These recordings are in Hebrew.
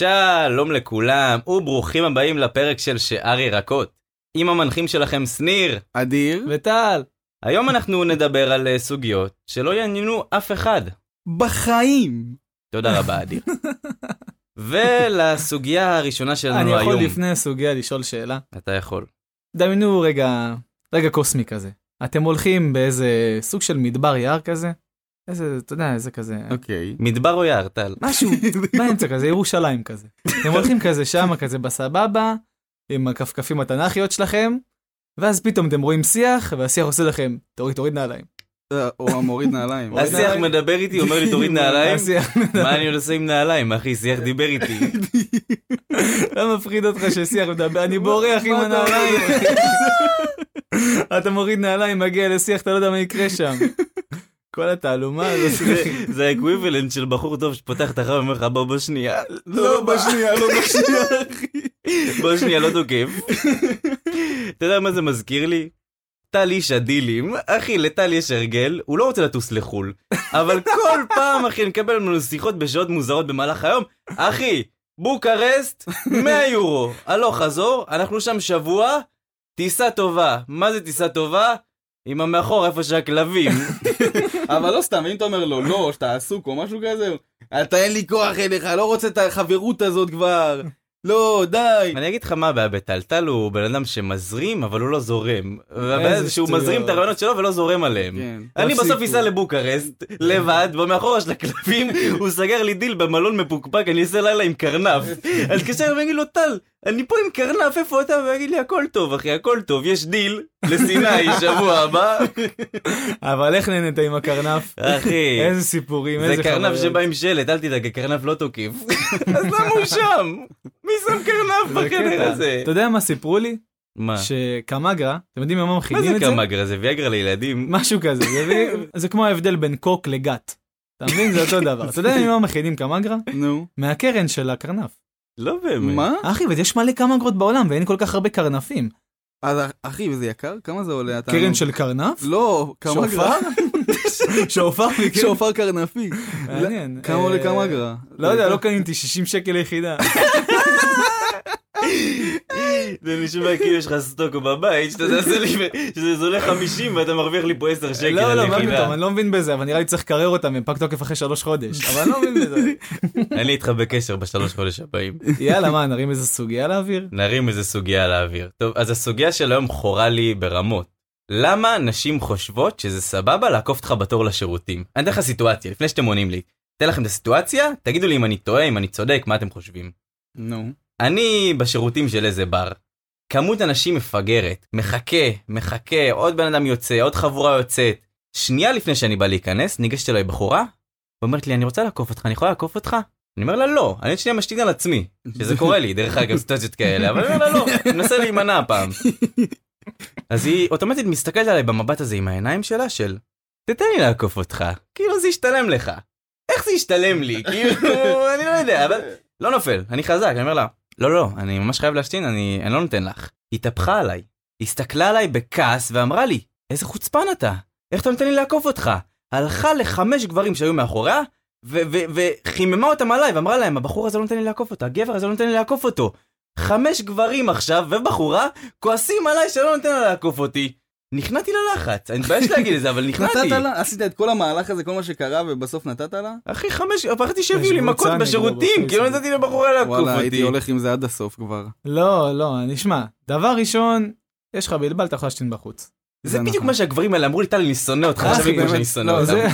שלום לכולם, וברוכים הבאים לפרק של שאר ירקות. עם המנחים שלכם שניר. אדיר, וטל, היום אנחנו נדבר על אה, סוגיות שלא יעניינו אף אחד. בחיים. תודה רבה, אדיר. ולסוגיה הראשונה שלנו אני היום. יכול לפני הסוגיה לשאול שאלה. אתה יכול. דמיינו רגע, רגע קוסמי כזה. אתם הולכים באיזה סוג של מדבר יער כזה? איזה, אתה יודע, איזה כזה, אוקיי. מדבר או יער, טל? משהו באמצע כזה, ירושלים כזה. אתם הולכים כזה שמה, כזה בסבבה, עם הכפכפים התנ"כיות שלכם, ואז פתאום אתם רואים שיח, והשיח עושה לכם, תוריד, תוריד נעליים. אה, או המוריד נעליים. אוריד השיח נעליים. מדבר איתי, אומר לי תוריד נעליים? השיח- מה אני עוד עושה עם נעליים, אחי? שיח דיבר איתי. לא מפחיד אותך ששיח מדבר, אני בורח עם מה אתה הנעליים. אתה מוריד נעליים, מגיע לשיח, אתה לא יודע מה יקרה שם. כל התעלומה הזאת. זה- זה האקוויבלנט של בחור טוב שפותח את החם ואומר לך בוא בוא שנייה, לא, בשנייה, לא בשנייה. בוא שנייה לא תוקף. אתה יודע מה זה מזכיר לי? טל איש הדילים, אחי לטל יש הרגל, הוא לא רוצה לטוס לחול, אבל כל פעם אחי נקבל ממנו שיחות בשעות מוזרות במהלך היום, אחי, בוקרסט, 100 יורו, הלוך חזור, אנחנו שם שבוע, טיסה טובה, מה זה טיסה טובה? עם המאחור איפה שהכלבים. אבל לא סתם, אם אתה אומר לו, לא, שאתה עסוק או משהו כזה, אתה אין לי כוח אליך, לא רוצה את החברות הזאת כבר. לא, די. אני אגיד לך מה הבעיה בטל, טל הוא בן אדם שמזרים, אבל הוא לא זורם. והבעיה זה שהוא שטויות. מזרים את הרעיונות שלו ולא זורם עליהם. כן. אני בסוף תפסיקו. אסע לבוקרשט, לבד, במאחורה של הכלבים, הוא סגר לי דיל במלון מפוקפק, אני אעשה לילה עם קרנף. אז תתקשר אליו ואגיד לו, טל, אני פה עם קרנף, איפה אתה? והוא יגיד לי, הכל טוב, אחי, הכל טוב, יש דיל, לסיני, שבוע הבא. אבל איך נהנית עם הקרנף? אחי, איזה סיפורים, איזה זה קרנף חוויות. שבא עם שלט, אל תדאג, הקרנף לא תוקף. אז למה הוא שם? מי שם קרנף זה בחדר קטע. הזה? אתה יודע מה סיפרו לי? מה? שקמגרה, אתם יודעים ממה מה מכינים זה את זה? קמגרה? זה ויאגרה לילדים? משהו כזה, זה- זה כמו ההבדל בין קוק לגת. אתה מבין? זה אותו דבר. אתה יודע ממה מכינים קמגרה? נו. מהקרן של הקרנף. לא באמת. מה? אחי, ויש מלא קמגרות בעולם ואין כל כך הרבה קרנפים. אז אחי, וזה יקר? כמה זה עולה? אתה- קרן של קרנף? לא, כמה גרם? שופר? שופר מקרן. שופר קרנפי. מעניין. כמה אה, עולה כמה גרם? לא יודע, לא קניתי 60 שקל ליחידה. זה נשמע כאילו יש לך סטוקו בבית, שאתה עושה לי, שזה עולה 50 ואתה מרוויח לי פה 10 שקל לא, על לא, מה יחידה. פתאום, אני לא מבין בזה, אבל נראה לי צריך לקרר אותם עם פג תוקף אחרי שלוש חודש. אבל אני לא מבין בזה. אני איתך בקשר בשלוש חודש הבאים. יאללה, מה, נרים איזה סוגיה לאוויר? נרים איזה סוגיה לאוויר. טוב, אז הסוגיה של היום חורה לי ברמות. למה נשים חושבות שזה סבבה לעקוף אותך בתור לשירותים? אני אתן לך סיטואציה, לפני שאתם עונים לי. אתן לכם את הסיטואציה, תגידו לי אם אני טועה, אם אני צודק, מה אתם חושבים. נו. אני בשירותים של איזה בר. כמות אנשים מפגרת, מחכה, מחכה, עוד בן אדם יוצא, עוד חבורה יוצאת. שנייה לפני שאני בא להיכנס, ניגשת אליי בחורה, ואומרת לי, אני רוצה לעקוף אותך, אני יכולה לעקוף אותך? אני אומר לה, לא, אני עוד שנייה משתין על עצמי, שזה קורה לי, דרך אגב, סיטואציות כאלה, אבל אני אומר לה, לא, אני מנסה להימנע הפעם. אז היא אוטומטית מסתכלת עליי במבט הזה עם העיניים שלה של, תתן לי לעקוף אותך, כאילו זה ישתלם לך. איך זה ישתלם לי? כאילו, אני לא יודע, אבל לא נופל, אני חזק, אני אומר לה, לא, לא, אני ממש חייב להשתין, אני, אני לא נותן לך. היא התהפכה עליי, הסתכלה עליי בכעס ואמרה לי, איזה חוצפן אתה, איך אתה נותן לי לעקוף אותך? הלכה לחמש גברים שהיו מאחוריה, ו- ו- וחיממה אותם עליי ואמרה להם, הבחור הזה לא נותן לי לעקוף אותו, הגבר הזה לא נותן לי לעקוף אותו. חמש גברים עכשיו ובחורה כועסים עליי שלא נותן לה לעקוף אותי. נכנעתי ללחץ, אני מתבייש להגיד את זה, אבל נכנעתי. נתת לה? עשית את כל המהלך הזה, כל מה שקרה, ובסוף נתת לה? אחי, חמש, פחדתי שיביאו לי יש קבוצה מכות נגדו בשירותים, כי לא בפייסבוק. נתתי לבחורה לעקוף וואלה, הייתי אותי. הולך עם זה עד הסוף כבר. לא, לא, נשמע. דבר ראשון, יש לך בלבל, אתה יכול להשתין בחוץ. זה זה בדיוק נכון. מה שהגברים האלה אמרו לי, טל, אני שונא אותך, אחי, עכשיו כמו באמת, שאני שונא לא, אותם. זה-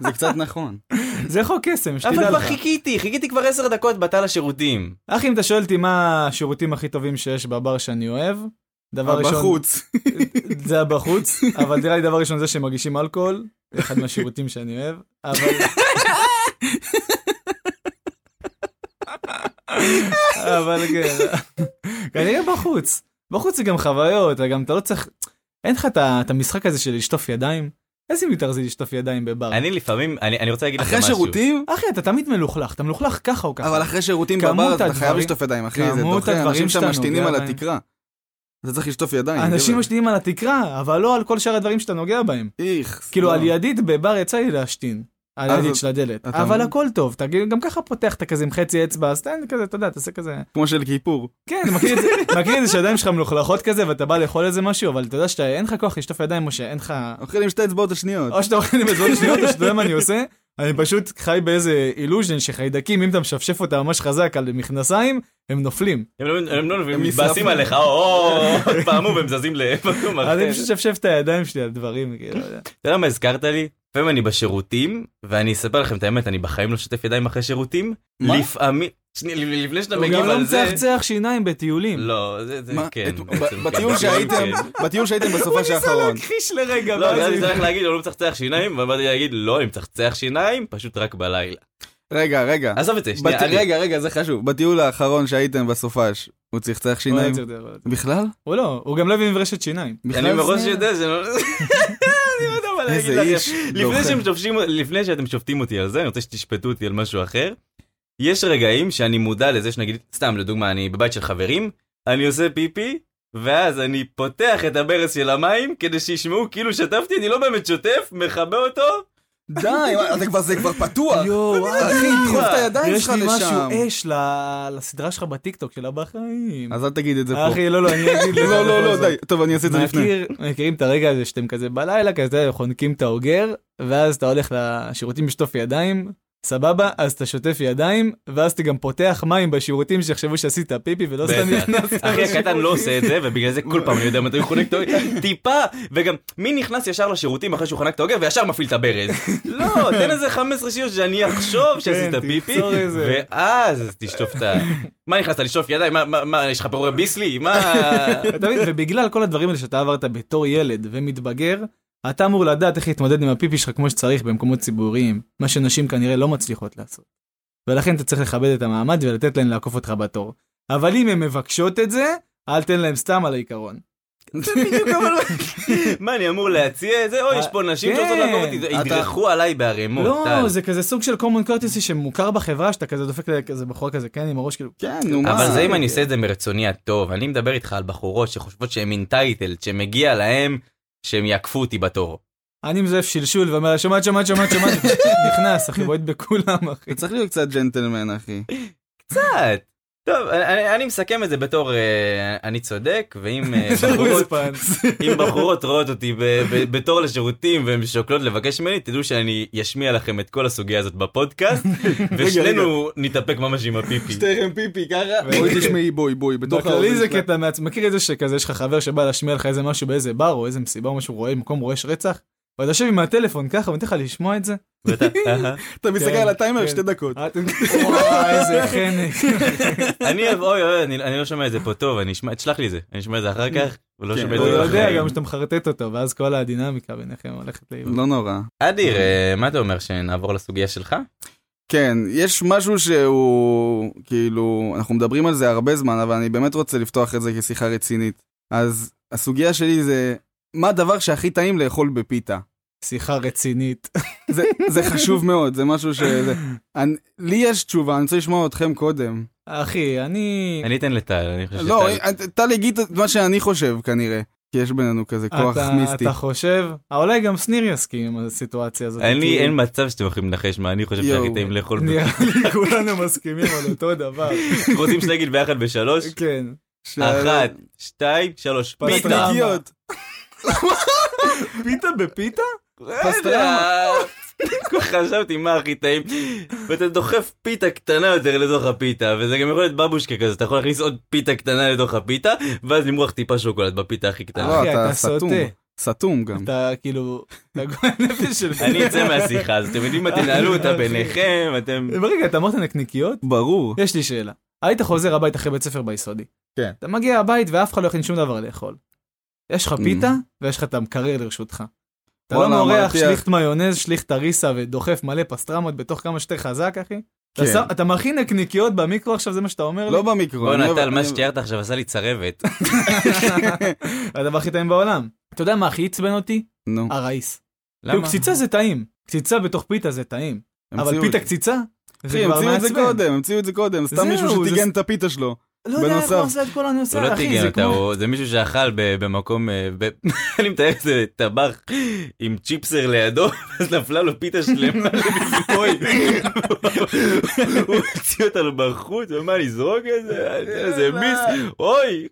זה קצת נכון. זה חוק קסם, אבל שתדע כבר לך. חיכיתי, חיכיתי כבר עשר דקות בתא לשירותים. אחי, אם אתה שואל אותי מה השירותים הכי טובים שיש בבר שאני אוהב, דבר ראשון... בחוץ. זה הבחוץ, אבל נראה לי דבר ראשון זה שמגישים אלכוהול, אחד מהשירותים שאני אוהב, אבל... אבל כן, כנראה בחוץ. בחוץ זה גם חוויות, וגם אתה לא צריך... אין לך את ה- את המשחק הזה של לשטוף ידיים? איזה מיתר זה לשטוף ידיים בבר? אני לפעמים, אני אני רוצה להגיד לך משהו. אחרי שירותים? אחי, אתה תמיד מלוכלך, אתה מלוכלך ככה או ככה. אבל אחרי שירותים כמות בבר אתה חייב הדברים- לשטוף ידיים, אחי. זה כמות דוחה, הדברים אנשים שם שאתה משתינים נוגע על בהם. התקרה. אתה צריך לשטוף ידיים. אנשים גבר. משתינים על התקרה, אבל לא על כל שאר הדברים שאתה נוגע בהם. איך. כאילו, לא. על ידית בבר יצא לי להשתין. הדדית אז- של הדלת. אתה אבל מבין? הכל טוב, תגיד, גם ככה פותח אתה כזה עם חצי אצבע, אז תן כזה, אתה יודע, תעשה כזה. כמו של כיפור. כן, מכיר את זה, מכיר את זה שהידיים שלך מלוכלכות כזה, ואתה בא לאכול איזה משהו, אבל אתה יודע שאתה, אין לך כוח לשטוף ידיים, משה, אין לך... אוכל עם שתי אצבעות השניות. או שאתה אוכל עם אצבעות שניות, או שאתה יודע מה אני עושה? אני פשוט חי באיזה אילוז'ן שחיידקים, אם אתה משפשף אותה ממש חזק על מכנסיים, הם נופלים. הם לא- הם לא מבינים, הם מתבאסים מתנפלים. עליך, או, או, או, פעמו והם זזים למקום אחר. אז אני פשוט משפשף את הידיים שלי על דברים, כאילו, לא יודע. אוקיי. אתה יודע מה הזכרת לי? לפעמים אני בשירותים, ואני אספר לכם את האמת, אני בחיים לא שוטף ידיים אחרי שירותים. מה? לפעמים... שנייה, לפני שאתה הוא מגיב גם לא על זה... מצחצח שיניים בטיולים. לא, זה זה מה? כן. את- בעצם ב- בטיול כן. שהייתם, כן. בטיול שהייתם בסופה האחרון. להכחיש לרגע, לא, אני צריך להגיד, הוא לא מצחצח שיניים, ובאתי להגיד, לא, אני מצחצח שיניים, פשוט רק בלילה. רגע, רגע. עזוב את זה, בת- שנייה, אני- רגע, רגע, זה חשוב. בטיול האחרון שהייתם בסופש, הוא צחצח שיניים? בכלל? הוא לא, הוא גם לא הביא מברשת שיניים. בכלל אני מראש זה- יודע ש... אני לא יודע מה להגיד איזה לכם. איש לפני, דוחה. שהם שופשים, לפני שאתם שופטים אותי על זה, אני רוצה שתשפטו אותי על משהו אחר. יש רגעים שאני מודע לזה שנגיד, סתם לדוגמה, אני בבית של חברים, אני עושה פיפי, ואז אני פותח את הברז של המים כדי שישמעו כאילו שטפתי, אני לא באמת שוטף, מכבה אותו. די, מה, אתה כבר- זה כבר פתוח. יואו, אחי, דחוף את הידיים יש שלך לא לי לשם. משהו אש ל- לסדרה שלך בטיקטוק של הבא חיים. אז אל תגיד את זה פה. אחי, לא, לא, אני אגיד לך. לא, לא, בכל לא, זאת. די. טוב, אני אעשה את זה לפני. מכיר, מכירים את הרגע הזה שאתם כזה בלילה, כזה אתה יודע, חונקים את האוגר, ואז אתה הולך לשירותים לשטוף ידיים, סבבה, אז אתה שוטף ידיים, ואז אתה גם פותח מים בשירותים שיחשבו שעשית פיפי ולא סתם בטח. נכנס. אחי הקטן לא עושה את זה, ובגלל זה כל פעם אני יודע מתי הוא חונק את האוגר, טיפה, וגם מי נכנס ישר לשירותים אחרי שהוא חנק את האוגר וישר מפעיל את הברז. לא, תן איזה 15 שניות שאני אחשוב שעשית כן, פיפי, תמסור איזה. ואז תשטוף את ה... מה נכנסת לשטוף ידיים? מה- מה- מה, יש לך פירורי ביסלי? מה... אתה מבין? ובגלל כל הדברים האלה שאתה עברת בתור ילד ומתבגר, אתה אמור לדעת איך להתמודד עם הפיפי שלך כמו שצריך במקומות ציבוריים, מה שנשים כנראה לא מצליחות לעשות. ולכן אתה צריך לכבד את המעמד ולתת להן לעקוף אותך בתור. אבל אם הן מבקשות את זה, אל תן להן סתם על העיקרון. בדיוק, אבל מה, אני אמור להציע את זה? או, יש פה נשים שרוצות כן. לעקוב אותי, אתה- ידרכו עליי בערימות. לא, טל. זה כזה סוג של common courtesy שמוכר בחברה, שאתה כזה דופק לכזה בחורה כזה, כן, עם הראש כאילו. כן, נו מה. אבל זה אם אני אוקיי. עושה את זה מרצוני הטוב, אני מדבר איתך על בחורות שחושבות שהן אינטייטלד, שמגיע להן שהם יעקפו אותי בתור. אני מזויף שלשול ואומר, לה, שומעת, שומעת, שומעת, שומעת, נכנס, אחי, בועט בכולם, אחי. אתה צריך להיות קצת ג'נטלמן, אחי. קצת. טוב, אני, אני מסכם את זה בתור אה, אני צודק, ואם אה, בחורות, אם בחורות רואות אותי ב, ב, בתור לשירותים והן שוקלות לבקש ממני, תדעו שאני אשמיע לכם את כל הסוגיה הזאת בפודקאסט, ושנינו נתאפק ממש עם הפיפי. שתיכם פיפי ככה. ו- בואי כן. תשמעי בואי בואי. בתוך בכללי האוזן זה שלה. קטע מעצ... מכיר את זה שכזה יש לך חבר שבא להשמיע לך איזה משהו באיזה בר או איזה מסיבה או משהו רואה מקום רועש רצח ואתה יושב עם הטלפון ככה ונותן לך לשמוע את זה. ואתה, אהה. אתה מסתכל על הטיימר כן. שתי דקות. אה, אתה- וואי, איזה חנק. אני, אוי אוי, אני, אני לא שומע את זה פה טוב, אני אשמע, תשלח לי את זה, אני אשמע את זה אחר כך, ולא כן, שומע את הוא זה. יודע אחרי. גם שאתה מחרטט אותו ואז כל הדינמיקה ביניכם הולכת לאיבוד. לא נורא. אדיר, אה, מה אתה אומר שנעבור לסוגיה שלך? כן, יש משהו שהוא, כאילו, אנחנו מדברים על זה הרבה זמן, אבל אני באמת רוצה לפתוח את זה כשיחה רצינית. אז הסוגיה שלי זה, מה הדבר שהכי טעים לאכול בפיתה? שיחה רצינית. זה, זה חשוב מאוד, זה משהו ש... זה, אני, לי יש תשובה, אני רוצה לשמוע אתכם קודם. אחי אני אני אתן לטל, אני חושב לא, שטל... את- טל יגיד את מה שאני חושב כנראה, כי יש בינינו כזה כוח אתה- מיסטי. אתה חושב אה, אולי גם שניר יסכים עם הסיטואציה הזאת. אין לי, כי- אין מצב שאתם יכולים לנחש מה אני חושב יואו. שהכי טעים לאכול. נראה לי כולנו מסכימים על אותו דבר. רוצים שנגיד ביחד בשלוש? כן. ש- אחת, שתיים, שלוש, פיתה. פסטרמה. פסטניקיות. פיתה בפיתה? פסטרמה. חשבתי מה הכי טעים. ואתה דוחף פיתה קטנה יותר לתוך הפיתה, וזה גם יכול להיות בבושקה כזה, אתה יכול להכניס עוד פיתה קטנה לתוך הפיתה, ואז למרוח טיפה שוקולד בפיתה הכי קטנה. לא, אחי, אתה אתה סתום. סוטה. סתום גם. אתה כאילו, אתה גועל נפש של... אני אצא מהשיחה, אז אתם יודעים מה, תנהלו אותה ביניכם, אתם... אה, רגע, אתה אמרת נקניקיות? ברור. יש לי שאלה. היית חוזר הביתה אחרי בית ספר ביסודי. כן. אתה מגיע הבית ואף אחד לא הכין שום דבר לאכול. יש לך פיתה Mm. ויש לך את המקרר לרשותך. אתה לא וואלה, מורח מרתיח. שליכט מיונז, שליכט אריסה ודוחף מלא פסטרמות בתוך כמה שיותר חזק, אחי. אתה כן. שם- אתה מכין נקניקיות במיקרו עכשיו, זה מה שאתה אומר לי? לא במיקרון. בוא אני- נטל, מה אני- שתיארת עכשיו עשה לי צרבת. הדבר הכי טעים בעולם. אתה יודע מה הכי עצבן אותי? נו, הרייס. כאילו למה? קציצה זה טעים. קציצה בתוך פיתה זה טעים. אבל המציאו את פיתה זה. קציצה? זה אחי, כבר המציאו את זה מעצבן. קודם, המציאו את זה קודם, סתם זהו, מישהו זה- שטיגן את הפיתה שלו. לא יודע איך בנוסף. הוא עושה את כל אני הוא לא עושה, אחי, טיגן זה אותה, כמו... הוא- זה מישהו שאכל ב- במקום, אה, ב- אני מתאר איזה טבח עם צ'יפסר לידו, אז נפלה לו פיתה שלמה לביקוי. הוא הוציא אותנו בחוץ, הוא אמר לזרוק את זה, איזה מיס, אוי,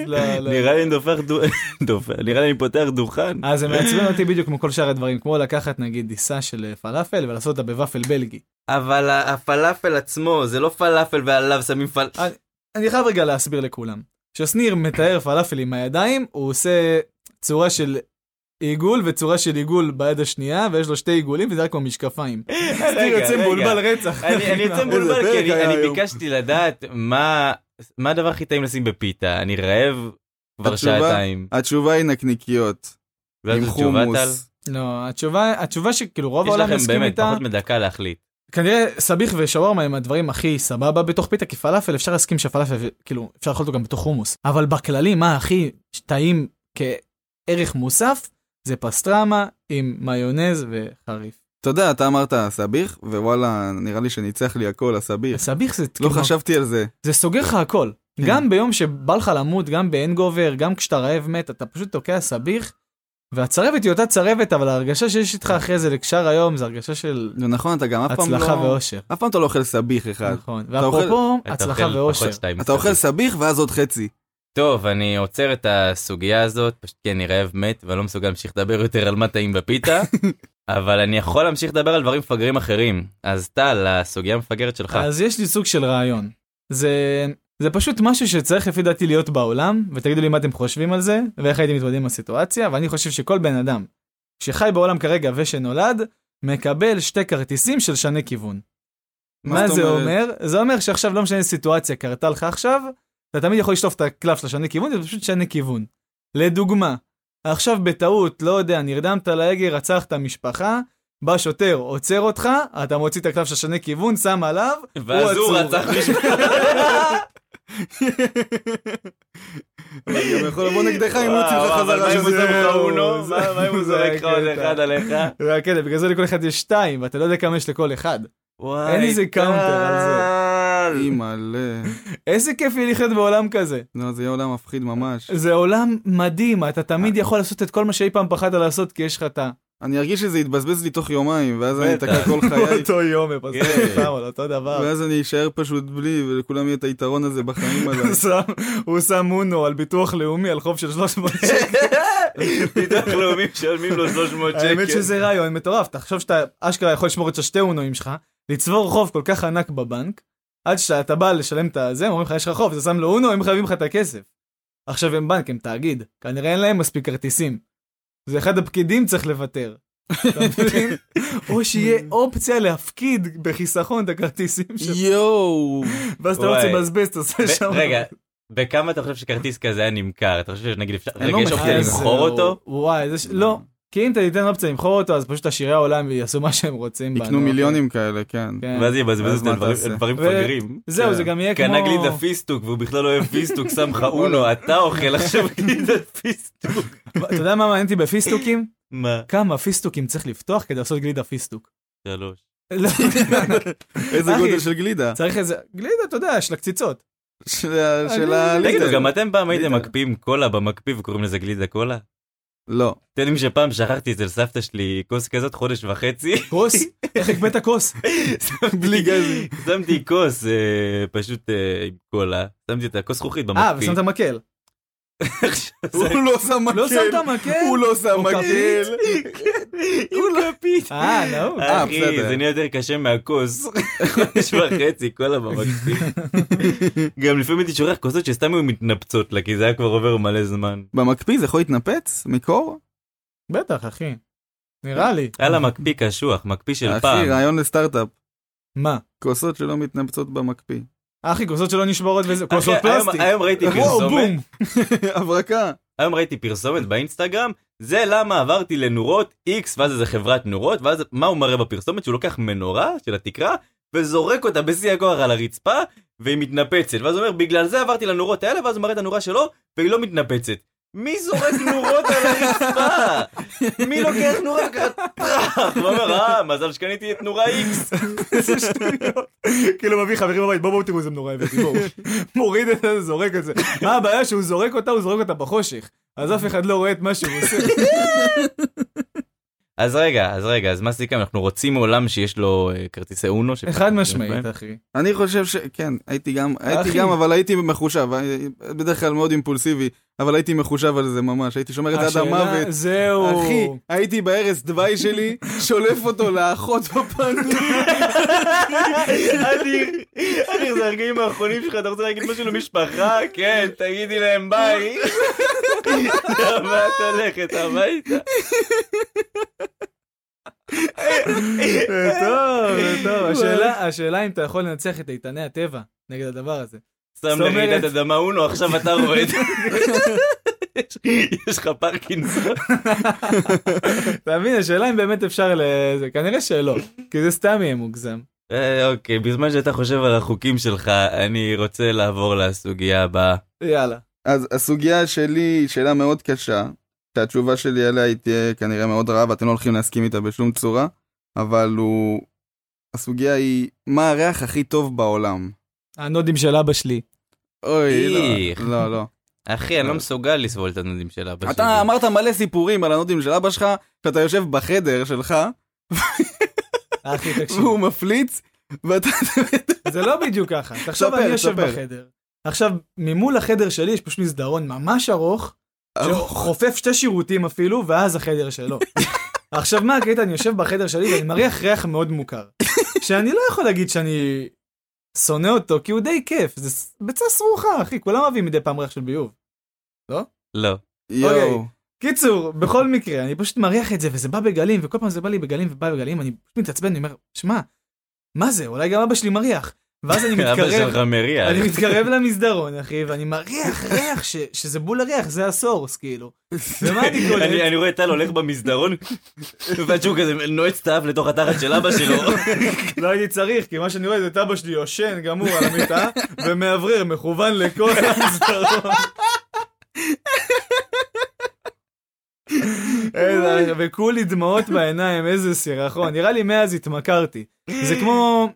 לא, לא. נראה לי אני דופח דו- דופח, נראה לי אני פותח דוכן. אז זה מעצבן אותי בדיוק כמו כל שאר הדברים, כמו לקחת נגיד דיסה של אה, פלאפל ולעשות אותה בוואפל בלגי. אבל ה- הפלאפל עצמו, זה לא פלאפל ועליו שמים פל... אני חייב רגע להסביר לכולם. כששניר מתאר פלאפל עם הידיים, הוא עושה צורה של עיגול וצורה של עיגול ביד השנייה, ויש לו שתי עיגולים וזה רק כמו משקפיים. שניר רגע, יוצא רגע. מבולבל רצח. אני אני יוצא איזה מבולבל כי פרק אני- היה אני היום. ביקשתי לדעת מה מה הדבר הכי טעים לשים בפיתה אני רעב כבר התשובה- שעתיים. התשובה היא נקניקיות, ואז עם התשובה, טל? חומוס. לא, התשובה, התשובה שכאילו רוב יש העולם לכם מסכים באמת איתה, פחות מדקה להחליט. כנראה סביח ושווארמה הם הדברים הכי סבבה בתוך פיתה, כי פלאפל אפשר להסכים שפלאפל, כאילו, אפשר לאכול אותו גם בתוך חומוס. אבל בכללי, מה הכי טעים כערך מוסף, זה פסטרמה עם מיונז וחריף. אתה יודע, אתה אמרת סביח, ווואלה, נראה לי שניצח לי הכל, הסביח. סביח זה, לא כאילו, חשבתי על זה. זה סוגר לך הכל. כן. גם ביום שבא לך למות, גם באנגובר, גם כשאתה רעב מת, אתה פשוט תוקע סביח, והצרבת היא אותה צרבת, אבל ההרגשה שיש איתך אחרי זה לקשר היום, זה הרגשה של נו, נכון, אתה גם כן. אף פעם לא... הצלחה ואושר. אף פעם אתה לא אוכל סביח אחד. נכון, אוכל- ואפרופו אתה הצלחה אוכל ואושר. פחות שתיים אתה אוכל מסביב. סביח ואז עוד חצי. טוב אני עוצר את הסוגיה הזאת פשוט כי אני רעב מת ואני לא מסוגל להמשיך לדבר יותר על מה טעים בפיתה. אבל אני יכול להמשיך לדבר על דברים מפגרים אחרים אז טל הסוגיה המפגרת שלך. אז יש לי סוג של רעיון. זה, זה פשוט משהו שצריך לפי דעתי להיות בעולם, ותגידו לי מה אתם חושבים על זה, ואיך הייתם מתמודדים עם הסיטואציה, ואני חושב שכל בן אדם שחי בעולם כרגע ושנולד, מקבל שתי כרטיסים של שני כיוון. מה זאת זה אומרת? אומר? זה אומר שעכשיו לא משנה סיטואציה קרתה לך עכשיו, אתה תמיד יכול לשלוף את הקלף של השני כיוון, זה פשוט שני כיוון. לדוגמה, עכשיו בטעות, לא יודע, נרדמת על ההגה, רצחת משפחה, בא שוטר, עוצר אותך, אתה מוציא את הקלף של השני כיוון, שם עליו, ואז הוא הוא עצור. רצח מישהו. אבל גם יכול לבוא נגדך אם הוא יוציא לך וואו, אבל מה חזרה אם הוא שזה... שם לך אונו? זהו, מה מה אם הוא זה זורק לך עוד הקטע. אחד עליך? זה הקטע, בגלל זה לכל אחד יש שתיים, ואתה לא יודע כמה יש לכל אחד. וואי, אין איזה קאונטר על זה. טל. אימא'לה. איזה כיף יהיה לחיות בעולם כזה. לא, זה יהיה עולם מפחיד ממש. זה עולם מדהים, אתה תמיד יכול לעשות את כל מה שאי פעם פחדת לעשות, כי יש לך את ה... אני ארגיש שזה יתבזבז לי תוך יומיים, ואז אני בטח. אתקע כל חיי, באותו יום, הם עשו כן. את זה פעם, על אותו דבר. ואז אני אשאר פשוט בלי, ולכולם יהיה את היתרון הזה בחיים עליי. שם- הוא שם אונו על ביטוח לאומי על חוב של 300 שקל. ביטוח לאומי משלמים לו 300 שקל. האמת שזה רעיון מטורף, תחשוב שאתה אשכרה יכול לשמור את השתי אונואים שלך, לצבור חוב כל כך ענק בבנק, עד שאתה בא לשלם את הזה, הם אומרים לך יש לך חוב, אתה שם לו אונו, הם חייבים לך את הכסף. עכשיו הם בנק, הם תאגיד, כנראה אין להם מספיק כרטיסים. זה אחד הפקידים צריך לוותר. אתה מבין? או שיהיה אופציה להפקיד בחיסכון את הכרטיסים שלך, יואו! ואז אתה לא רוצה וואי. לבזבז, אתה עושה ב- שם... רגע, בכרטיס, בכמה אתה חושב שכרטיס כזה היה נמכר? אתה חושב שנגיד אפשר... אני לא רגע, יש אופציה אז למכור זהו. אותו? וואי, זה ש- לא. כי אם אתה תיתן אופציה למכור אותו, אז פשוט עשירי העולם יעשו מה שהם רוצים. יקנו בנו. אוקיי? מיליונים כאלה, כן. כן. ואז יבזבזו ואז את מה הדברים- אתה עושה? הדברים ו- מפגרים. זהו, כן. זה גם יהיה כמו... קנה גלידה פיסטוק והוא בכלל לא אוהב פיסטוק, שם לך אונו, אתה אוכל עכשיו גלידת פיסטוק. אתה יודע מה מעניין אותי בפיסטוקים? מה? כמה פיסטוקים צריך לפתוח כדי לעשות גלידה פיסטוק. שלוש. לא, איזה אחי. גודל של גלידה. צריך איזה... גלידה, אתה יודע, של הקציצות. של ה- של ה... תגידו, לא גם אתם פעם הייתם גלידה. מקפיאים קולה במקפיא וקוראים לזה גלידה קולה? אתם לא. יודעים שפעם שכחתי אצל סבתא שלי כוס כזאת חודש וחצי? כוס? איך הקפאת כוס? שמתי- בלי גזים. שמתי כוס אה, פשוט אה, עם קולה, שמתי את הכוס זכוכית אה, במקפיא. ושמת מקל. הוא לא שם מקל. לא שמת מקל? הוא לא שם הוא מקל. עם כפית. אה, לא. אה, אחי, בסדר. זה נהיה יותר קשה מהכוס. חודש וחצי, קולה במקפיא. גם לפעמים הייתי שורח כוסות שסתם היו מתנפצות לה, כי זה היה כבר עובר מלא זמן. במקפיא זה יכול להתנפץ? מקור? בטח, אחי. נראה לי. היה לה מקפיא קשוח, מקפיא של אחי, פעם. רעיון לסטארט-אפ. מה? כוסות שלא מתנפצות במקפיא. אחי, כוסות שלא נשברות וזה, אחי, כוסות היום- פלסטיק. היום כאילו, ראיתי וואו, פרסומת, בום. הברקה. היום ראיתי פרסומת באינסטגרם, זה למה עברתי לנורות X, ואז איזה חברת נורות, ואז מה הוא מראה בפרסומת? שהוא לוקח מנורה של התקרה, וזורק אותה בשיא הכוח על הרצפה, והיא מתנפצת. ואז הוא אומר, בגלל זה עברתי לנורות האלה, ואז הוא מראה את הנורה שלו, והיא לא מתנפצת. מי זורק נורות על הרצפה? מי לוקח נורה וככה טראח? ואומר, אה, מזל שקניתי את נורה איקס. איזה שטויות. כאילו מביא חברים בבית, בואו בואו תראו איזה נורא הבאתי, בואו. מוריד את זה, זורק את זה. מה הבעיה שהוא זורק אותה, הוא זורק אותה בחושך. אז אף אחד לא רואה את מה שהוא עושה. אז רגע, אז רגע, אז מה סיכם? אנחנו רוצים עולם שיש לו אה, כרטיסי אונו. שפתאום חד משתמש בהם? משמעית, אחי. אני חושב ש... כן, הייתי גם, הייתי אחי. גם, אבל הייתי מחושב, אני- בדרך כלל מאוד אימפולסיבי, אבל הייתי מחושב על זה ממש, הייתי שומר את זה עד המוות. זהו. אחי, הייתי בערש דווי שלי, שולף אותו לאחות בפנים. אדיר, אדיר, זה הרגעים האחרונים שלך, אתה רוצה להגיד משהו למשפחה? כן, תגידי להם ביי. למה את הולכת הביתה? זה טוב, זה טוב. השאלה- השאלה אם אתה יכול לנצח את איתני הטבע נגד הדבר הזה. שם אומרת- לרעידת אדמה אונו, עכשיו אתה רואה את זה. יש לך פרקינסון. אתה מבין, השאלה אם באמת אפשר ל... זה כנראה שלא, כי זה סתם יהיה מוגזם. אה, אוקיי, בזמן שאתה חושב על החוקים שלך, אני רוצה לעבור לסוגיה הבאה. יאללה. אז הסוגיה שלי היא שאלה מאוד קשה, שהתשובה שלי עליה היא תהיה כנראה מאוד רעה ואתם לא הולכים להסכים איתה בשום צורה, אבל הוא... הסוגיה היא, מה הריח הכי טוב בעולם? הנודים של אבא שלי. אוי, איך. לא, לא, לא. אחי, אני לא מסוגל לסבול את הנודים של אבא שלי. אתה אמרת מלא סיפורים על הנודים של אבא שלך, שאתה יושב בחדר שלך, אחי, תקשיב. והוא מפליץ, ואתה... זה לא בדיוק ככה. תחשוב, ספר, אני יושב ספר. בחדר. עכשיו, ממול החדר שלי יש פשוט מסדרון ממש ארוך, שחופף שתי שירותים אפילו, ואז החדר שלו. עכשיו, מה הקטע? אני יושב בחדר שלי ואני מריח ריח מאוד מוכר. שאני לא יכול להגיד שאני שונא אותו, כי הוא די כיף. זה ס- ביצה סרוחה, אחי. כולם אוהבים מדי פעם ריח של ביוב. לא. יואו. אוקיי. קיצור, בכל מקרה, אני פשוט מריח את זה, וזה בא בגלים, וכל פעם זה בא לי בגלים ובא בגלים, אני פשוט מתעצבן, אני אומר, שמע, מה זה? אולי גם אבא שלי מריח. ואז אני אבא מתקרב, שלך מריח. אני מתקרב למסדרון, אחי, ואני מריח ריח, ש- שזה בול הריח, זה הסורס, כאילו. ומה אני קולט? אני, אני רואה טל הולך במסדרון, ועד שהוא כזה נועץ את האף לתוך התחת של אבא שלו. לא הייתי צריך, כי מה שאני רואה זה את אבא שלי יושן גמור על המיטה, ומאוורר מכוון לכל המסדרון. איזה- וכולי דמעות בעיניים, איזה סירחון. נראה לי מאז התמכרתי. זה כמו,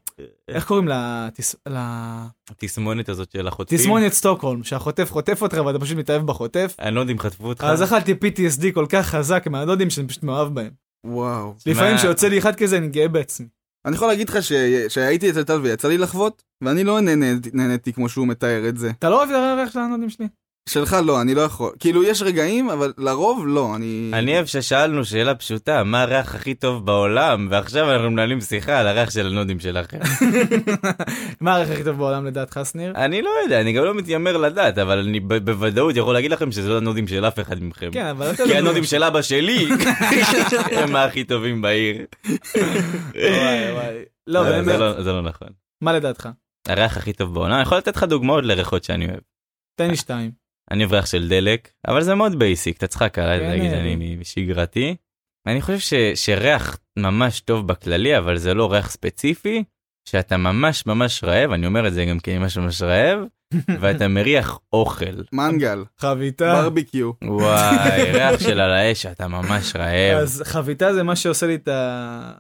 איך קוראים לה- תס- לה- התסמונת הזאת של החוטפים. תסמונת סטוקהולם, שהחוטף חוטף אותך ואתה פשוט מתאהב בחוטף. אני לא יודע אם חטפו אותך. אז אכלתי PTSD כל כך חזק מהדודים שאני פשוט מאוהב בהם. וואו. לפעמים כשיוצא לי אחד כזה אני גאה בעצמי. אני יכול להגיד לך ש- שהייתי אצל טל ויצא לי לחוות, ואני לא נהניתי- נהניתי כמו שהוא מתאר את זה. אתה לא אוהב את הריח של הנודים שלי? שלך לא, אני לא יכול. כאילו, יש רגעים, אבל לרוב לא, אני... אני אוהב ששאלנו שאלה פשוטה, מה הריח הכי טוב בעולם, ועכשיו אנחנו מנהלים שיחה על הריח של הנודים שלכם. מה הערך הכי טוב בעולם לדעתך, שניר? אני לא יודע, אני גם לא מתיימר לדעת, אבל אני ב- בוודאות יכול להגיד לכם שזה לא הנודים של אף אחד מכם. כן, אבל אתה... כי הנודים של אבא שלי הם הכי טובים בעיר. וואי, וואי. לא, זה- זה באמת. לא- זה לא נכון. מה לדעתך? הריח הכי טוב בעולם, אני יכול לתת לך דוגמאות לריחות שאני אוהב. תן לי שתיים. אני אוהב ריח של דלק, אבל זה מאוד בייסיק, תצחק כן, עליי, תגיד, אה. אני שגרתי. אני חושב ש, שריח ממש טוב בכללי, אבל זה לא ריח ספציפי, שאתה ממש ממש רעב, אני אומר את זה גם כי אני ממש ממש רעב, ואתה מריח אוכל. מנגל, חביתה. ברביקיו. וואי, ריח של על האש, אתה ממש רעב. אז חביתה זה מה שעושה לי את ה...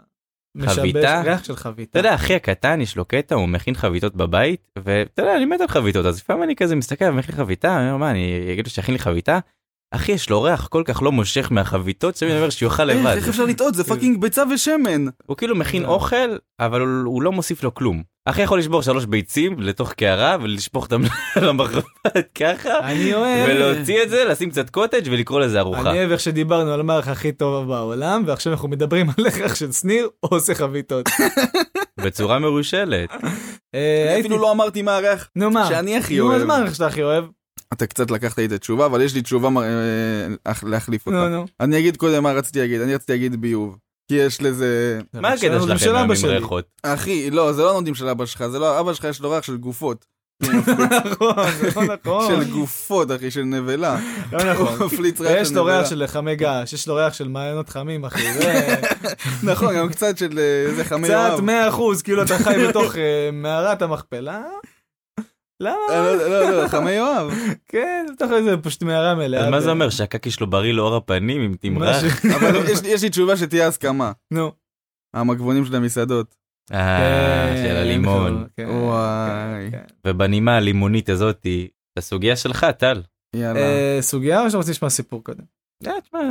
משבש- חביתה? ריח של חביתה. אתה יודע, אחי הקטן, יש לו קטע, הוא מכין חביתות בבית, ואתה יודע, אני מת על חביתות, אז לפעמים אני כזה מסתכל על מכין חביתה, אני אומר, מה, אני אגיד לו שיכין לי חביתה? אחי, יש לו ריח כל כך לא מושך מהחביתות, שאני אומר שיאכל לבד. איך איך אפשר לטעות? זה פאקינג ביצה ושמן. הוא כאילו מכין לא. אוכל, אבל הוא- הוא לא מוסיף לו כלום. אחי יכול לשבור שלוש ביצים לתוך קערה ולשפוך אותם למחרת ככה, אני אוהב... ולהוציא את זה, לשים קצת קוטג' ולקרוא לזה ארוחה. אה. אני אוהב איך שדיברנו על מערך הכי טוב בעולם, ועכשיו אנחנו מדברים על איך של שניר או עושה חביתות. בצורה מרושלת. אה, אני הייתי- אפילו לא אמרתי מה הריח נו מה? שאני הכי נו, אז אוהב. מה הערך שאתה הכי אוהב? אתה קצת לקחת לי את התשובה, אבל יש לי תשובה מר- אה, אח- להחליף נו, אותה. נו. אני אגיד קודם מה רציתי להגיד, אני רציתי להגיד ביוב. כי יש לזה... מה הקטע של שלכם אבא עם שלי. ריחות? אחי, לא, זה לא הנודים של אבא שלך, זה לא... אבא שלך יש לו ריח של גופות. נכון, נכון, נכון. של גופות, אחי, של נבלה. לא נכון. הוא מפליץ ריח ויש של לו נבלה. ריח של חמי געש, יש לו ריח של מעיינות חמים, אחי. זה נכון, גם קצת של אה, איזה חמי קצת יואב. 100 אחוז, כאילו אתה חי בתוך אה, מערת המכפלה, למה? לא, לא, לא, לא, חמי יואב. כן, בתוך איזה פשוט מערה מלאה. אז מה זה ב- אומר שהקקי שלו בריא לאור הפנים עם תמרח? משהו- אבל יש לי- יש לי תשובה שתהיה הסכמה. נו. המגבונים של המסעדות. אה, של הלימון. כן, וואי. כן. ובנימה הלימונית הזאתי, הסוגיה שלך, טל. יאללה. אה, סוגיה או שרוצים לשמוע סיפור קודם? אה, תשמע, אה,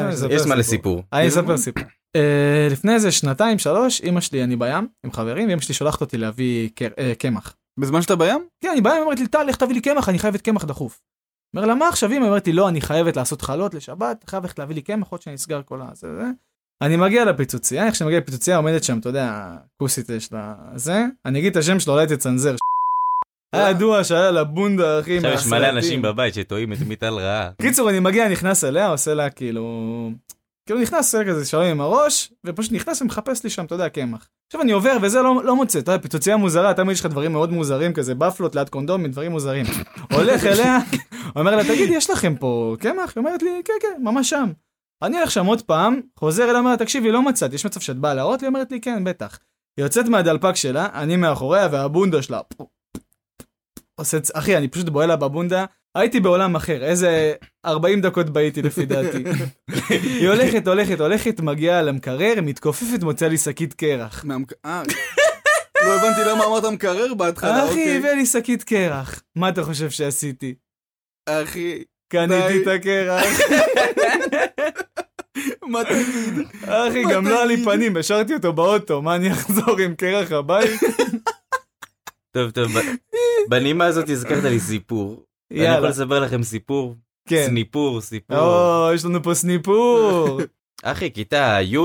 אני יש- אספר יש מה סיפור. לסיפור. אני אספר סיפור. אה, לפני איזה שנתיים שלוש אמא שלי אני בים עם חברים ואמא שלי שולחת אותי להביא קר- אה, קמח. בזמן שאתה בים? כן אני באה היא אומרת לי טל לך תביא לי קמח אני חייבת קמח דחוף. אומר לה מה עכשיו אמא?" היא אומרת לי לא אני חייבת לעשות חלות לשבת חייב ללכת להביא לי קמח עוד שנסגר כל הזה. זה. אני מגיע לפיצוצייה איך שאני מגיע לפיצוצייה עומדת שם אתה יודע כוסית יש לה זה אני אגיד את השם שלו אולי תצנזר. היה ידוע שהיה לה בונדה אחי. אה. עכשיו יש מלא מהסרטים. אנשים בבית שטועים את מיטל רעה. קיצור אני מגיע נכנס אליה עושה לה כאילו כאילו נכנס עושה כזה שלום עם הראש ופשוט נכנס ומחפש לי שם אתה יודע קמח. עכשיו אני עובר וזה לא, לא מוצא אתה יודע פיצוצייה מוזרה תמיד יש לך דברים מאוד מוזרים כזה בפלות ליד קונדומים דברים מוזרים. הולך אליה אומר לה תגיד יש לכם פה קמח? היא אומרת לי כן כן ממש שם. אני הולך שם עוד פעם חוזר אליה אומר לה תקשיבי לא מצאת יש מצב שאת באה להראות לי? היא אומרת לי כן בטח. היא יוצאת מהדלפק שלה אני מאחוריה והבונדה שלה. עושה צ- אחי אני פשוט בועל לה בבונדה הייתי בעולם אחר, איזה 40 דקות בעיתי לפי דעתי. היא הולכת, הולכת, הולכת, מגיעה למקרר, מתכופפת, מוציאה לי שקית קרח. מהמק- אה. לא הבנתי למה אמרת מקרר בהתחלה, אה, אחי, אוקיי. הביא לי שקית קרח. מה אתה חושב שעשיתי? אחי, די. קניתי את הקרח. מה תגיד? אחי, מה גם לא היה לי תגיד? פנים, השארתי אותו באוטו, מה אני אחזור עם קרח הבית? טוב, טוב, ב- בנימה הזאת הזכרת לי סיפור. יאללה. אני יכול יאללה, לספר לכם סיפור? כן. סניפור, סיפור. או, יש לנו פה סניפור. אחי, כיתה י',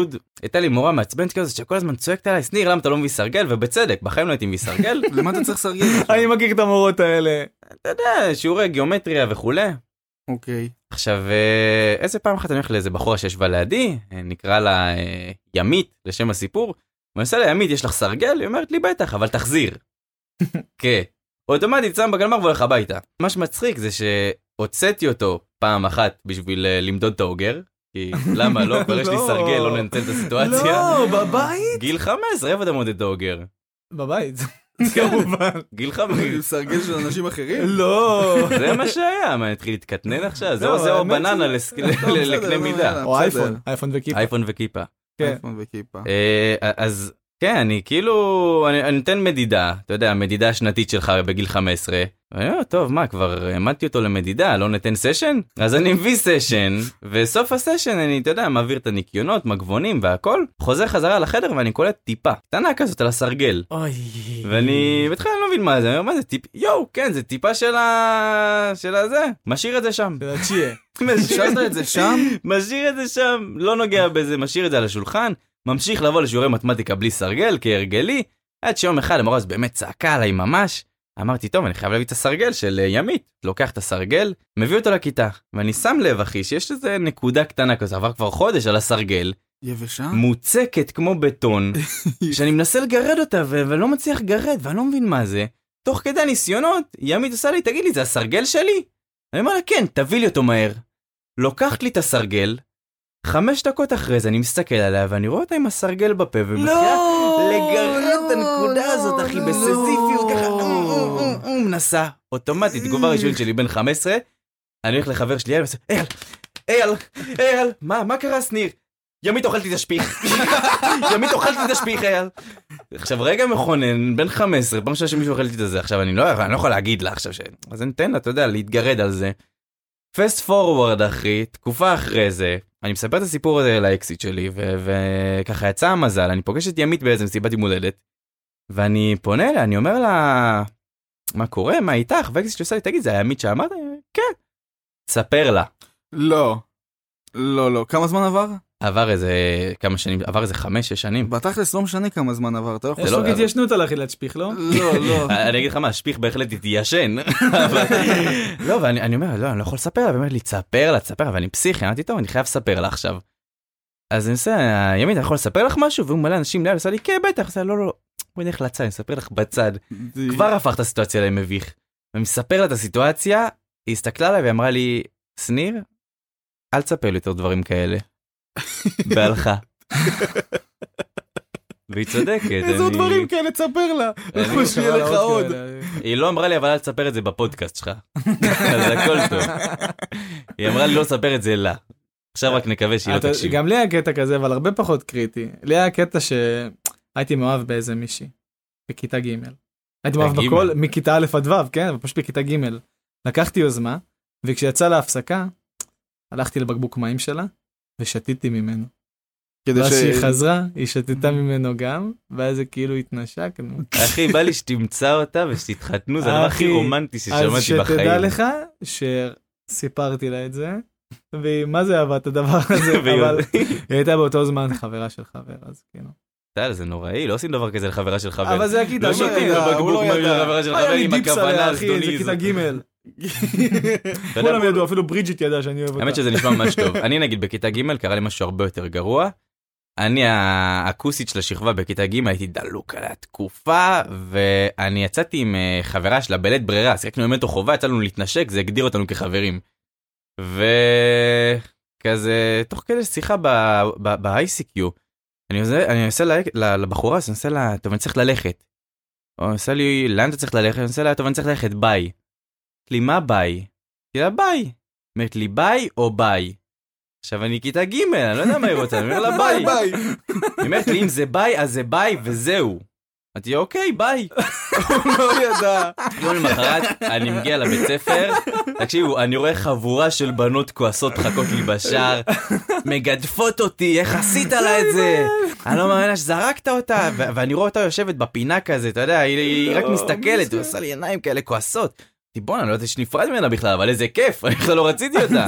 הייתה לי מורה מעצבנת כזאת שכל הזמן צועקת עליי, שניר, למה אתה לא מביא סרגל? ובצדק, בחיים לא הייתי מביא סרגל. למה אתה צריך סרגל? אני מכיר את המורות האלה. אתה יודע, אה, שיעורי גיאומטריה וכולי. אוקיי. עכשיו, אה, איזה פעם אחת אני הולך לאיזה בחורה שישבה לידי, אה, נקרא לה אה, ימית, לשם הסיפור, ואני עושה לה, ימית, יש לך סרגל? היא אומרת לי, בטח, אבל תחזיר. כן. אוטומטית שם בגלמר והולך הביתה. מה שמצחיק זה שהוצאתי אותו פעם אחת בשביל אה, למדוד את האוגר, כי למה לא? כבר יש לי לא. סרגל, לא ננצל את הסיטואציה. לא, בבית? גיל 15, איפה אתה מודד את האוגר? בבית, כמובן. גיל עם 15. סרגל של אנשים אחרים? לא. זה מה שהיה, מה, נתחיל להתקטנן עכשיו? זה לא, או זה או האמת בננה שזה- לס- לא, בסדר, לקנה לא, מידה. לא, או בסדר. אייפון, אייפון וכיפה. אייפון וכיפה. כן. אייפון וכיפה. אה, אז כן, אני כאילו, אני אני נותן מדידה, אתה יודע, המדידה השנתית שלך בגיל 15. ואני אומר, טוב, מה, כבר העמדתי אותו למדידה, לא ניתן סשן? אז אני מביא סשן, וסוף הסשן אני, אתה יודע, מעביר את הניקיונות, מגבונים והכל, חוזר חזרה לחדר ואני קולט טיפה, קטנה כזאת על הסרגל. אוי. ואני בהתחלה אני לא מבין מה זה, אני אומר, מה זה טיפ... יואו, כן, זה טיפה של ה... של הזה, משאיר את זה שם. של הצ'יה. משאיר השארת את זה שם? משאיר את זה שם, לא נוגע בזה, משאיר את זה על השולחן, ממשיך לבוא לשיעורי מתמטיקה בלי סרגל, כהרגלי, עד שיום אחד המורה אז באמת צעקה עליי ממש. אמרתי, טוב, אני חייב להביא את הסרגל של אה, ימית. לוקח את הסרגל, מביא אותו לכיתה. ואני שם לב, אחי, שיש איזה נקודה קטנה כזו, עבר כבר חודש על הסרגל, יבשה? מוצקת כמו בטון, שאני מנסה לגרד אותה, ו- ולא מצליח לגרד, ואני לא מבין מה זה. תוך כדי הניסיונות, ימית עושה לי, תגיד לי, זה הסרגל שלי? אני אומר לה, כן, תביא לי אותו מהר. לוקחת לי את הסרגל, חמש דקות אחרי זה אני מסתכל עליה, ואני רואה אותה עם הסרגל בפה, לא! ומתחילה לגרד את הנקודה הזאת, אחי, בסזיפיות, ככה, "אמ, אמ, אמ, אמ", מנסה. אוטומטית, תגובה ראשונית שלי, בן 15, אני הולך לחבר שלי, אייל, ועושה, אייל, אייל, אייל, מה, מה קרה, שניר? ימית אוכלת לי את השפיך, ימית אוכלת לי את השפיך, אייל. עכשיו רגע מכונן, בן 15, פעם ראשונה שמישהו אוכל לי את זה, עכשיו אני לא, אני לא יכול להגיד לה עכשיו ש... אז אני אתן לה, אתה יודע, להתגרד על זה. פסט פורוורד אחי, תקופה אחרי זה, אני מספר את הסיפור הזה לאקסיט שלי, וככה יצא המזל, אני פוגש את ימית באיזה מסיבת יום הולדת, ואני פונה אליה, אני אומר לה, מה קורה, מה איתך? ואקסיט שלי עושה לי, תגיד, זה הימית שאמרת? כן. ספר לה. לא. לא, לא. כמה זמן עבר? עבר איזה כמה שנים, עבר איזה חמש, שש שנים. בתכלס לא משנה כמה זמן עבר, אתה לא יכול... יש לא- חוק התיישנות על אכילת שפיך, לא? לא, לא. אני אגיד לך מה, שפיך בהחלט התיישן. אבל- לא, ואני אני אומר, לא, אני לא יכול לספר לה, והיא אומרת לי, תספר לה, תספר לה, ואני פסיכי, אמרתי, טוב, אני חייב לספר לה עכשיו. אז אני עושה, ימין, אני יכול לספר לך משהו? והוא מלא אנשים ליד, עושה לי, כן, בטח, עושה, לא, לא, לא, בואי נלך לצד, אני אספר לך בצד. כבר הפך את הסיטואציה למביך. ואני מספר לה את הסיטואציה, היא הסתכלה עליי ואמרה לי, שניר, אל תספר לי יותר דברים כאלה. והלכה. והיא צודקת. איזה עוד אני- אה, דברים כאלה, תספר לה. אני- שיהיה לך עוד. היא לא אמרה לי, אבל אל תספר את זה בפודקאסט שלך. אז הכל טוב. היא אמרה לי לא לספר את זה לה. עכשיו רק נקווה שהיא לא אתה- תקשיב. גם לי היה קטע כזה, אבל הרבה פחות קריטי. לי היה קטע שהייתי מאוהב באיזה מישהי, בכיתה ג'. הייתי מאוהב ג'. בכל, מכיתה א' עד ו', כן, אבל פשוט בכיתה ג'. לקחתי יוזמה, וכשיצא להפסקה, הלכתי לבקבוק מים שלה, ושתיתי ממנו. כדי ואז שהיא ש... חזרה, היא שתתה ממנו גם, ואז זה כאילו התנשקנו. אחי, בא לי שתמצא אותה ושתתחתנו, זה הדבר הכי אחי, רומנטי אז ששמעתי שתדע בחיים. לך שסיפרתי לה את זה, והיא מה זה אהבה את הדבר הזה, והיא אבל עוד- היא הייתה באותו זמן חברה של חבר, אז כאילו. טל, זה נוראי, לא עושים דבר כזה לחברה של חבר. אבל זה הכיתה לא הוא לא שותים ג'. ידע, הוא בבקבוק לא מים ידע. לחברה של חבר היה לי עם דיפס הכוונה עליה, אחי, זה הזדונית. כיתה ג'. אתה יודע, כולם ידעו, אפילו ברידג'יט ידעה שאני אוהב אותה. האמת שזה נשמע ממש טוב. אני נגיד בכיתה ג' קרה לי משהו הרבה יותר גרוע. אני הכוסית של השכבה בכיתה ג' הייתי דלוק על התקופה ואני יצאתי עם אה, חברה שלה בלית ברירה שיחקנו במטו חובה יצא לנו להתנשק זה הגדיר אותנו כחברים. וכזה תוך כדי שיחה ב- ב- ב-ICQ אני עושה, אני עושה לה, לה- לבחורה אז אני עושה לה טוב אני צריך ללכת. או היא עושה לי לאן אתה צריך ללכת אני עושה לה טוב אני צריך ללכת ביי. אמרתי לי מה ביי? אמרתי לה ביי. אומרת לי ביי או ביי? עכשיו אני כיתה ג', אני לא יודע מה היא רוצה, אני אומר לה ביי. היא ביי. אומרת לי אם זה ביי אז זה ביי וזהו. אמרתי אוקיי ביי. הוא לא ידע. יום למחרת אני מגיע לבית ספר, תקשיבו אני רואה חבורה של בנות כועסות חכות לי בשער, מגדפות אותי איך עשית לה את זה, אני לא מאמינה שזרקת אותה ו- ואני רואה אותה יושבת בפינה כזה אתה יודע היא- היא רק לא, מסתכלת, מסכן. היא עושה לי עיניים כאלה כועסות. אמרתי, בואנה, אני לא ידעתי שנפרד ממנה בכלל, אבל איזה כיף, אני בכלל לא רציתי אותה.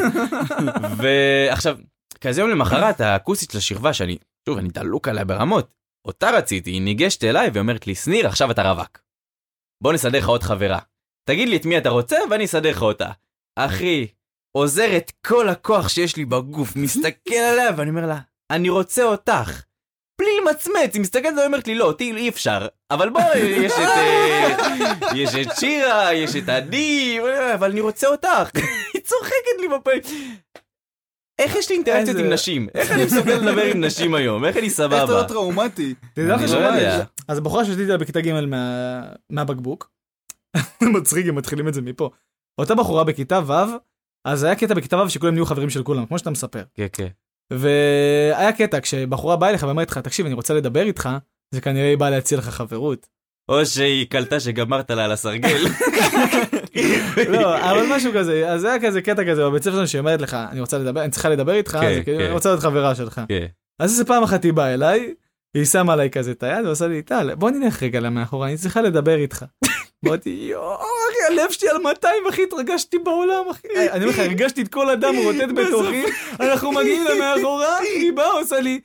ועכשיו, כזה יום למחרת, הכוסית של השכבה, שאני, שוב, אני דלוק עליה ברמות, אותה רציתי, היא ניגשת אליי ואומרת לי, שניר, עכשיו אתה רווק. בוא נסדר לך עוד חברה. תגיד לי את מי אתה רוצה ואני אסדר לך אותה. אחי, עוזר את כל הכוח שיש לי בגוף, מסתכל עליה ואני אומר לה, אני רוצה אותך. בלי למצמץ, היא מסתכלת עליה ואומרת לי, לא, אותי אי אפשר. אבל בואי, יש את... אה, יש את שירה, יש את עדי, אבל אני רוצה אותך. היא צוחקת לי בפנים. איך יש לי אינטראקציות איזה- עם נשים? איך אני מסוגל לדבר עם נשים היום? איך אני איך אתה סבבה? לא טראומטי? תדע אני לך לא שמה, יודע. אז הבחורה ששתיתי לה בכיתה ג' מה- מהבקבוק, מצחיק אם מתחילים את זה מפה. אותה בחורה בכיתה ו', אז היה קטע בכיתה ו' שכולם נהיו חברים של כולם, כמו שאתה מספר. כן, כן. והיה קטע, כשבחורה באה אליך ואומרת לך, תקשיב, אני רוצה לדבר איתך, זה כנראה היא באה להציע לך חברות. או שהיא קלטה שגמרת לה על הסרגל. לא, אבל משהו כזה, אז היה כזה קטע כזה בבית ספר שלנו שהיא אומרת לך, אני רוצה לדבר, אני צריכה לדבר איתך, כן, אז היא כאילו, כן. אני רוצה להיות חברה שלך. כן. אז איזה פעם אחת היא באה אליי, היא שמה עליי כזה את היד ועושה לי, טל, בוא נלך רגע למאחורה, אני צריכה לדבר איתך. אמרתי, יואו, אחי, הלב שלי על 200, אחי, התרגשתי בעולם, אחי. אני אומר לך, הרגשתי את כל הדם רוטט בתוכי, אנחנו מגיעים למאחורה, היא באה, עושה לי,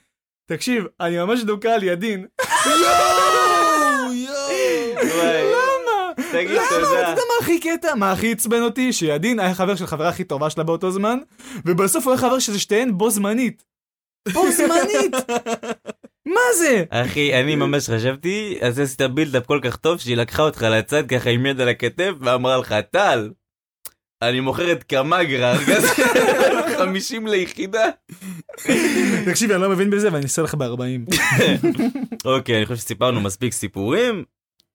תקשיב, אני ממש דוקה על ידין. יואו, יואו. וואי, למה? תגיד למה? אתה תודה. יודע מה הכי קטע? מה הכי עצבן אותי? שידין היה חבר של חברה הכי טובה שלה באותו זמן, ובסוף הוא היה חבר שזה שתיהן בו זמנית. בו זמנית! מה זה? אחי, כן. אני ממש חשבתי, אז עשית בילדאפ כל כך טוב שהיא לקחה אותך לצד ככה עם יד על הכתף ואמרה לך, טל, אני מוכרת קמגרה, ארגז 50 ליחידה. תקשיבי, אני לא מבין בזה ואני אעשה לך ב-40. אוקיי, אני חושב שסיפרנו מספיק סיפורים,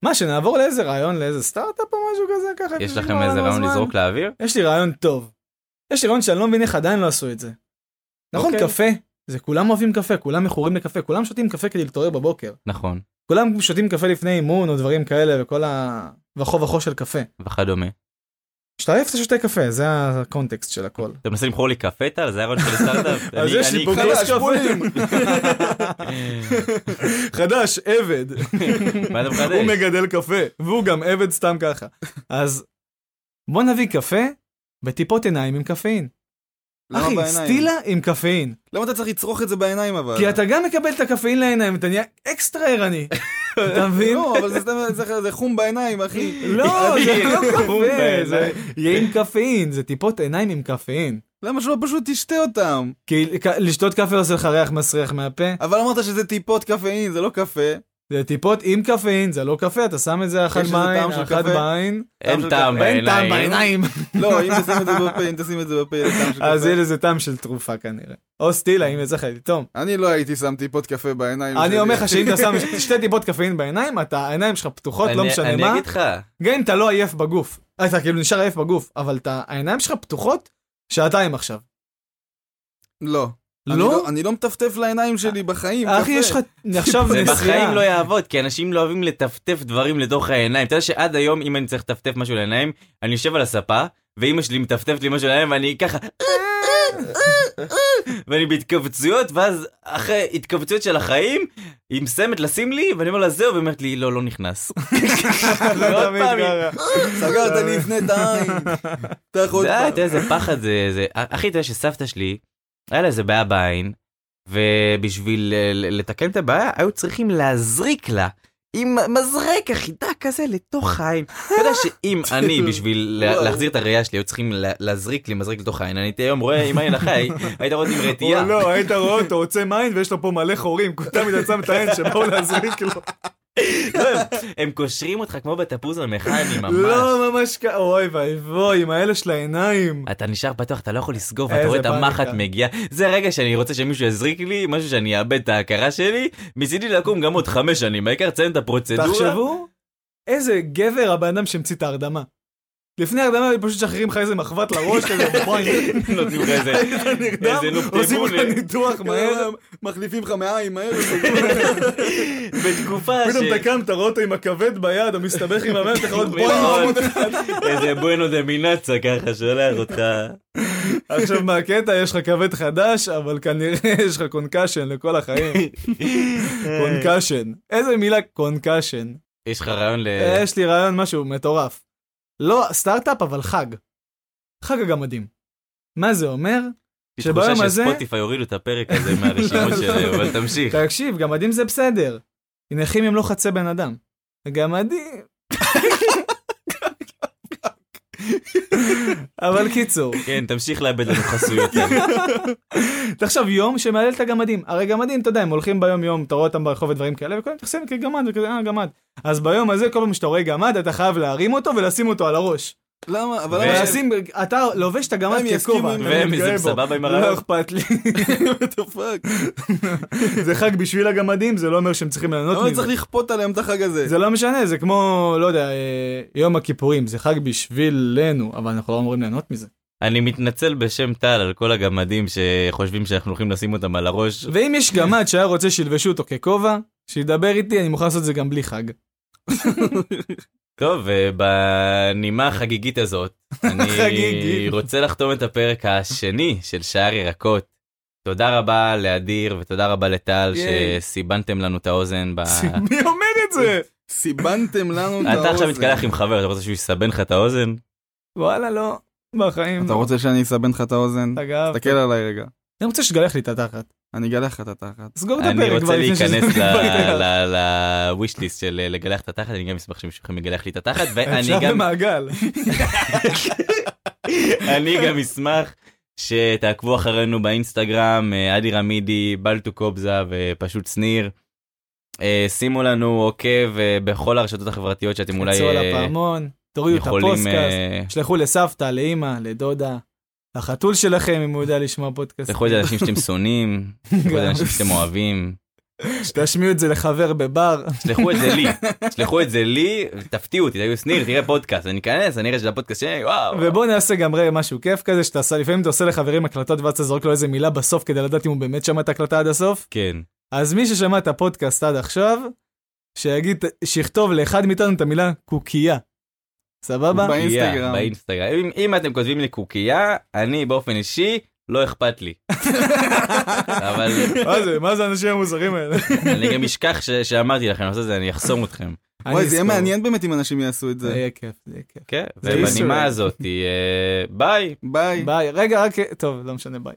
מה, שנעבור לאיזה רעיון, לאיזה סטארט-אפ או משהו כזה? ככה? יש כי לכם נגמר איזה לנו רעיון הזמן. לזרוק לאוויר? יש לי רעיון טוב. יש לי רעיון שאני לא מבין איך עדיין לא עשו את זה. נכון, אוקיי. קפה. זה כולם אוהבים קפה, כולם מכורים לקפה, כולם שותים קפה כדי להתעורר בבוקר. נכון, כולם שותים קפה לפני אימון או דברים כאלה וכל ה... וכו וכו של קפה. וכדומה. כשאתה עייף אתה שותה קפה, זה הקונטקסט של הכל. אתה מנסה למכור לי קפה טל? זה הרעיון של הסטארט-אפ? אז אני- יש לי אני- פה חלש. חלש, קפה. בולים. חדש, עבד. מה אתה הוא מחדש? מגדל קפה, והוא גם עבד סתם ככה. אז בוא נביא קפה בטיפות עיניים עם קפאין. למה אחי, בעיניים? אה. סטילה עם קפאין. למה אתה צריך לצרוך את זה בעיניים אבל? כי אתה גם מקבל את הקפאין לעיניים, אתה נהיה אקסטרה ערני. אתה מבין? לא, אבל זה סתם- זה- זה חום בעיניים, אחי. לא, זה לא חום קפה, בעיניים. זה יהיה עם קפאין, זה טיפות עיניים עם קפאין. למה שלא פשוט תשתה אותם? כי לשתות קפה עושה לך ריח מסריח מהפה. אבל אמרת שזה טיפות קפאין, זה לא קפה. זה טיפות עם קפאין, זה לא קפה, אתה שם את זה אחת יש איזה בעין, טעם של אחת קפה? בעין. אין של טעם קפה. אין טעם בעיניים. בעיניים. לא, אם תשים את זה בפה, אם תשים את זה בפה, יהיה טעם של אז יהיה קפה. לזה טעם של תרופה כנראה. או סטילה, אם יצא לך לטעום. אני לא הייתי שם טיפות קפה בעיניים. אני שלי. אומר לך שאם אתה שם שתי טיפות קפאין בעיניים, אתה, העיניים שלך פתוחות, לא אני- משנה אני מה. אגיד לך, גם אם אתה לא עייף בגוף. אתה כאילו נשאר עייף בגוף, אבל אתה- העיניים שלך פתוחות שעתיים עכשיו. לא. אני לא? אני לא מטפטף לעיניים שלי בחיים. אחי, קפה. יש לך עכשיו זה נסיעה. בחיים לא יעבוד, כי אנשים לא אוהבים לטפטף דברים לתוך העיניים. אתה יודע שעד היום, אם אני צריך לטפטף משהו לעיניים, אני יושב על הספה, ואימא שלי מטפטפת לי משהו לעיניים, ואני ככה... ואני בהתכווצויות, ואז אחרי התכווצויות של החיים, היא מסיימת לשים לי, ואני אומר לה זהו, והיא אומרת לי, לא, לא נכנס. לא ועוד תמיד לא. פעם היא- ככה. סגרת לי לפני את העין. תח עוד די, אתה יודע פעם. איזה פחד זה, זה... אחי, אתה יודע שסבתא שלי, היה לה איזה בעיה בעין, ובשביל אה, ל- לתקן את הבעיה, היו צריכים להזריק לה. עם מזרק החידה כזה לתוך העין. אתה יודע שאם אני בשביל לה- וואו. להחזיר את הראייה שלי היו צריכים לה- להזריק לי מזרק לתוך העין, אני הייתי היום רואה עם עין החי, היית רואה אותי עם רטייה. או לא, היית רואה אותו עוצם עין ויש לו פה מלא חורים, כי הוא תמיד עצם את העין שבאו כאילו. להזריק לו. לא, הם- הם קושרים אותך כמו בתפוז המכני ממש. לא, ממש כ... אוי ואבוי, עם האלה של העיניים. אתה נשאר פתוח, אתה לא יכול לסגור, ואתה איזה רואה את המחט פאניקה. מגיע. זה הרגע שאני רוצה שמישהו יזריק לי, משהו שאני אאבד את ההכרה שלי, מצידי לקום גם עוד חמש שנים, העיקר לציין את הפרוצדורה. תחשבו, איזה גבר הבן אדם שהמציא את ההרדמה. לפני ההרדמה הם פשוט שחררים לך איזה מחבת לראש כזה, בואי, נותנים לך איזה אתה נרדם, איזה לופ כן. עושים לך טיבול. ניתוח מהר, מחליפים לך מהעין מהר. בתקופה ש... פתאום אתה קם, אתה רואה אותו עם הכבד ביד, הוא מסתבך עם המאה, אתה יכול אומרים בואי, עוד איזה בואנו דמינצה ככה שולח אותך. עכשיו מהקטע יש לך כבד חדש, אבל כנראה יש לך קונקשן לכל החיים. קונקשן. איזה מילה קונקשן. יש לך רעיון ל... אה, יש לי רעיון משהו מטורף. לא סטארט-אפ, אבל חג. חג הגמדים. מה זה אומר? יש תחושה שביום הזה- שספוטיפיי הורידו את הפרק הזה מהרשימות שלהם, אבל תמשיך. תקשיב, גמדים זה בסדר. נכים הם לא חצי בן אדם. גמדים. אבל קיצור, כן, תמשיך לאבד לנו חסויות. תחשוב יום שמהלל את הגמדים. הרי גמדים, אתה יודע, הם הולכים ביום יום, אתה רואה אותם ברחוב ודברים כאלה, וכולם מתייחסים כגמד וכזה, אה, גמד. אז ביום הזה, כל פעם שאתה רואה גמד, אתה חייב להרים אותו ולשים אותו על הראש. למה? אבל ו- למה? ולשים, אתה לובש את הגמד הם יסכימו ככובע. עם- אתה והם מתגאה זה בו. סבבה עם לא הרעיון? אכפת לי. What the fuck? זה חג בשביל הגמדים, זה לא אומר שהם צריכים ליהנות למה מזה. צריך לכפות עליהם את החג הזה? זה לא משנה, זה כמו, לא יודע, אה, יום הכיפורים, זה חג בשבילנו, אבל אנחנו לא אמורים ליהנות מזה. אני מתנצל בשם טל על כל הגמדים שחושבים שאנחנו הולכים לשים אותם על הראש. ואם יש גמד שהיה רוצה שילבשו אותו ככובע, שידבר איתי, אני מוכן לעשות את זה גם בלי חג. טוב, ובנימה החגיגית הזאת, אני חגיגית. רוצה לחתום את הפרק השני של שער ירקות. תודה רבה לאדיר ותודה רבה לטל ייי. שסיבנתם לנו את האוזן. ב- מי אומר את זה? סיבנתם לנו את האוזן. אתה עכשיו מתקלח עם חבר, אתה רוצה שהוא יסבן לך את האוזן? וואלה, לא. בחיים. אתה רוצה שאני אסבן לך את האוזן? אגב, תסתכל עליי רגע. אני רוצה שתגלח לי את התחת. אני אגלח לך את התחת. סגור את אני הפרק רוצה כבר לפני שזה... להיכנס כבר יתגלח. ל-wish list של אה, לגלח את התחת, אני גם אשמח שמישהו יגלח לי את התחת, ואני אפשר גם במעגל. אני גם אשמח שתעקבו אחרינו באינסטגרם, אה, אדי רמידי, בלטו קובזה ופשוט שניר. אה, שימו לנו עוקב אה, בכל הרשתות החברתיות שאתם אולי תצאו על אה, הפעמון, תורידו את יכולים... הפוסטקאסט, אה, שלחו לסבתא, לאימא, לדודה, לחתול שלכם, אם הוא יודע לשמוע פודקאסט. תלכו את זה לאנשים שאתם שונאים, תלכו את זה לאנשים שאתם אוהבים, תשמיעו את זה לחבר בבר. שלחו את זה לי, שלחו את זה לי, תפתיעו אותי, תגידו שניר תראה פודקאסט, אני אכנס, אני אראה שזה הפודקאסט שלי, וואו. ובוא נעשה גם ראה משהו כיף כזה שאתה עושה, לפעמים אתה עושה לחברים הקלטות ואז אתה זורק לו איזה מילה בסוף כדי לדעת אם הוא באמת שמע את ההקלטה עד הסוף. כן, אז מי ששמע את הפודקאסט עד עכשיו, שיגיד, שיכתוב לאחד מאיתנו את המילה קוקייה. ביי. סבבה? באינסטגרם. קוקייה, באינסטגרם. אם- אם אתם כותבים לי קוקייה, אני באופן אישי, לא אכפת לי. אבל מה זה, מה זה האנשים המוזרים האלה? אני גם אשכח ש- שאמרתי לכם, אני עושה את זה, אני אחסום אתכם. וואי, אני אה, זה יהיה אזכור. מעניין באמת אם אנשים יעשו את זה זה. יהיה כיף, זה יהיה כיף. כן, זה Easter ובנימה egg. הזאת, אה, ביי. ביי. ביי, רגע, רק, טוב, לא משנה, ביי.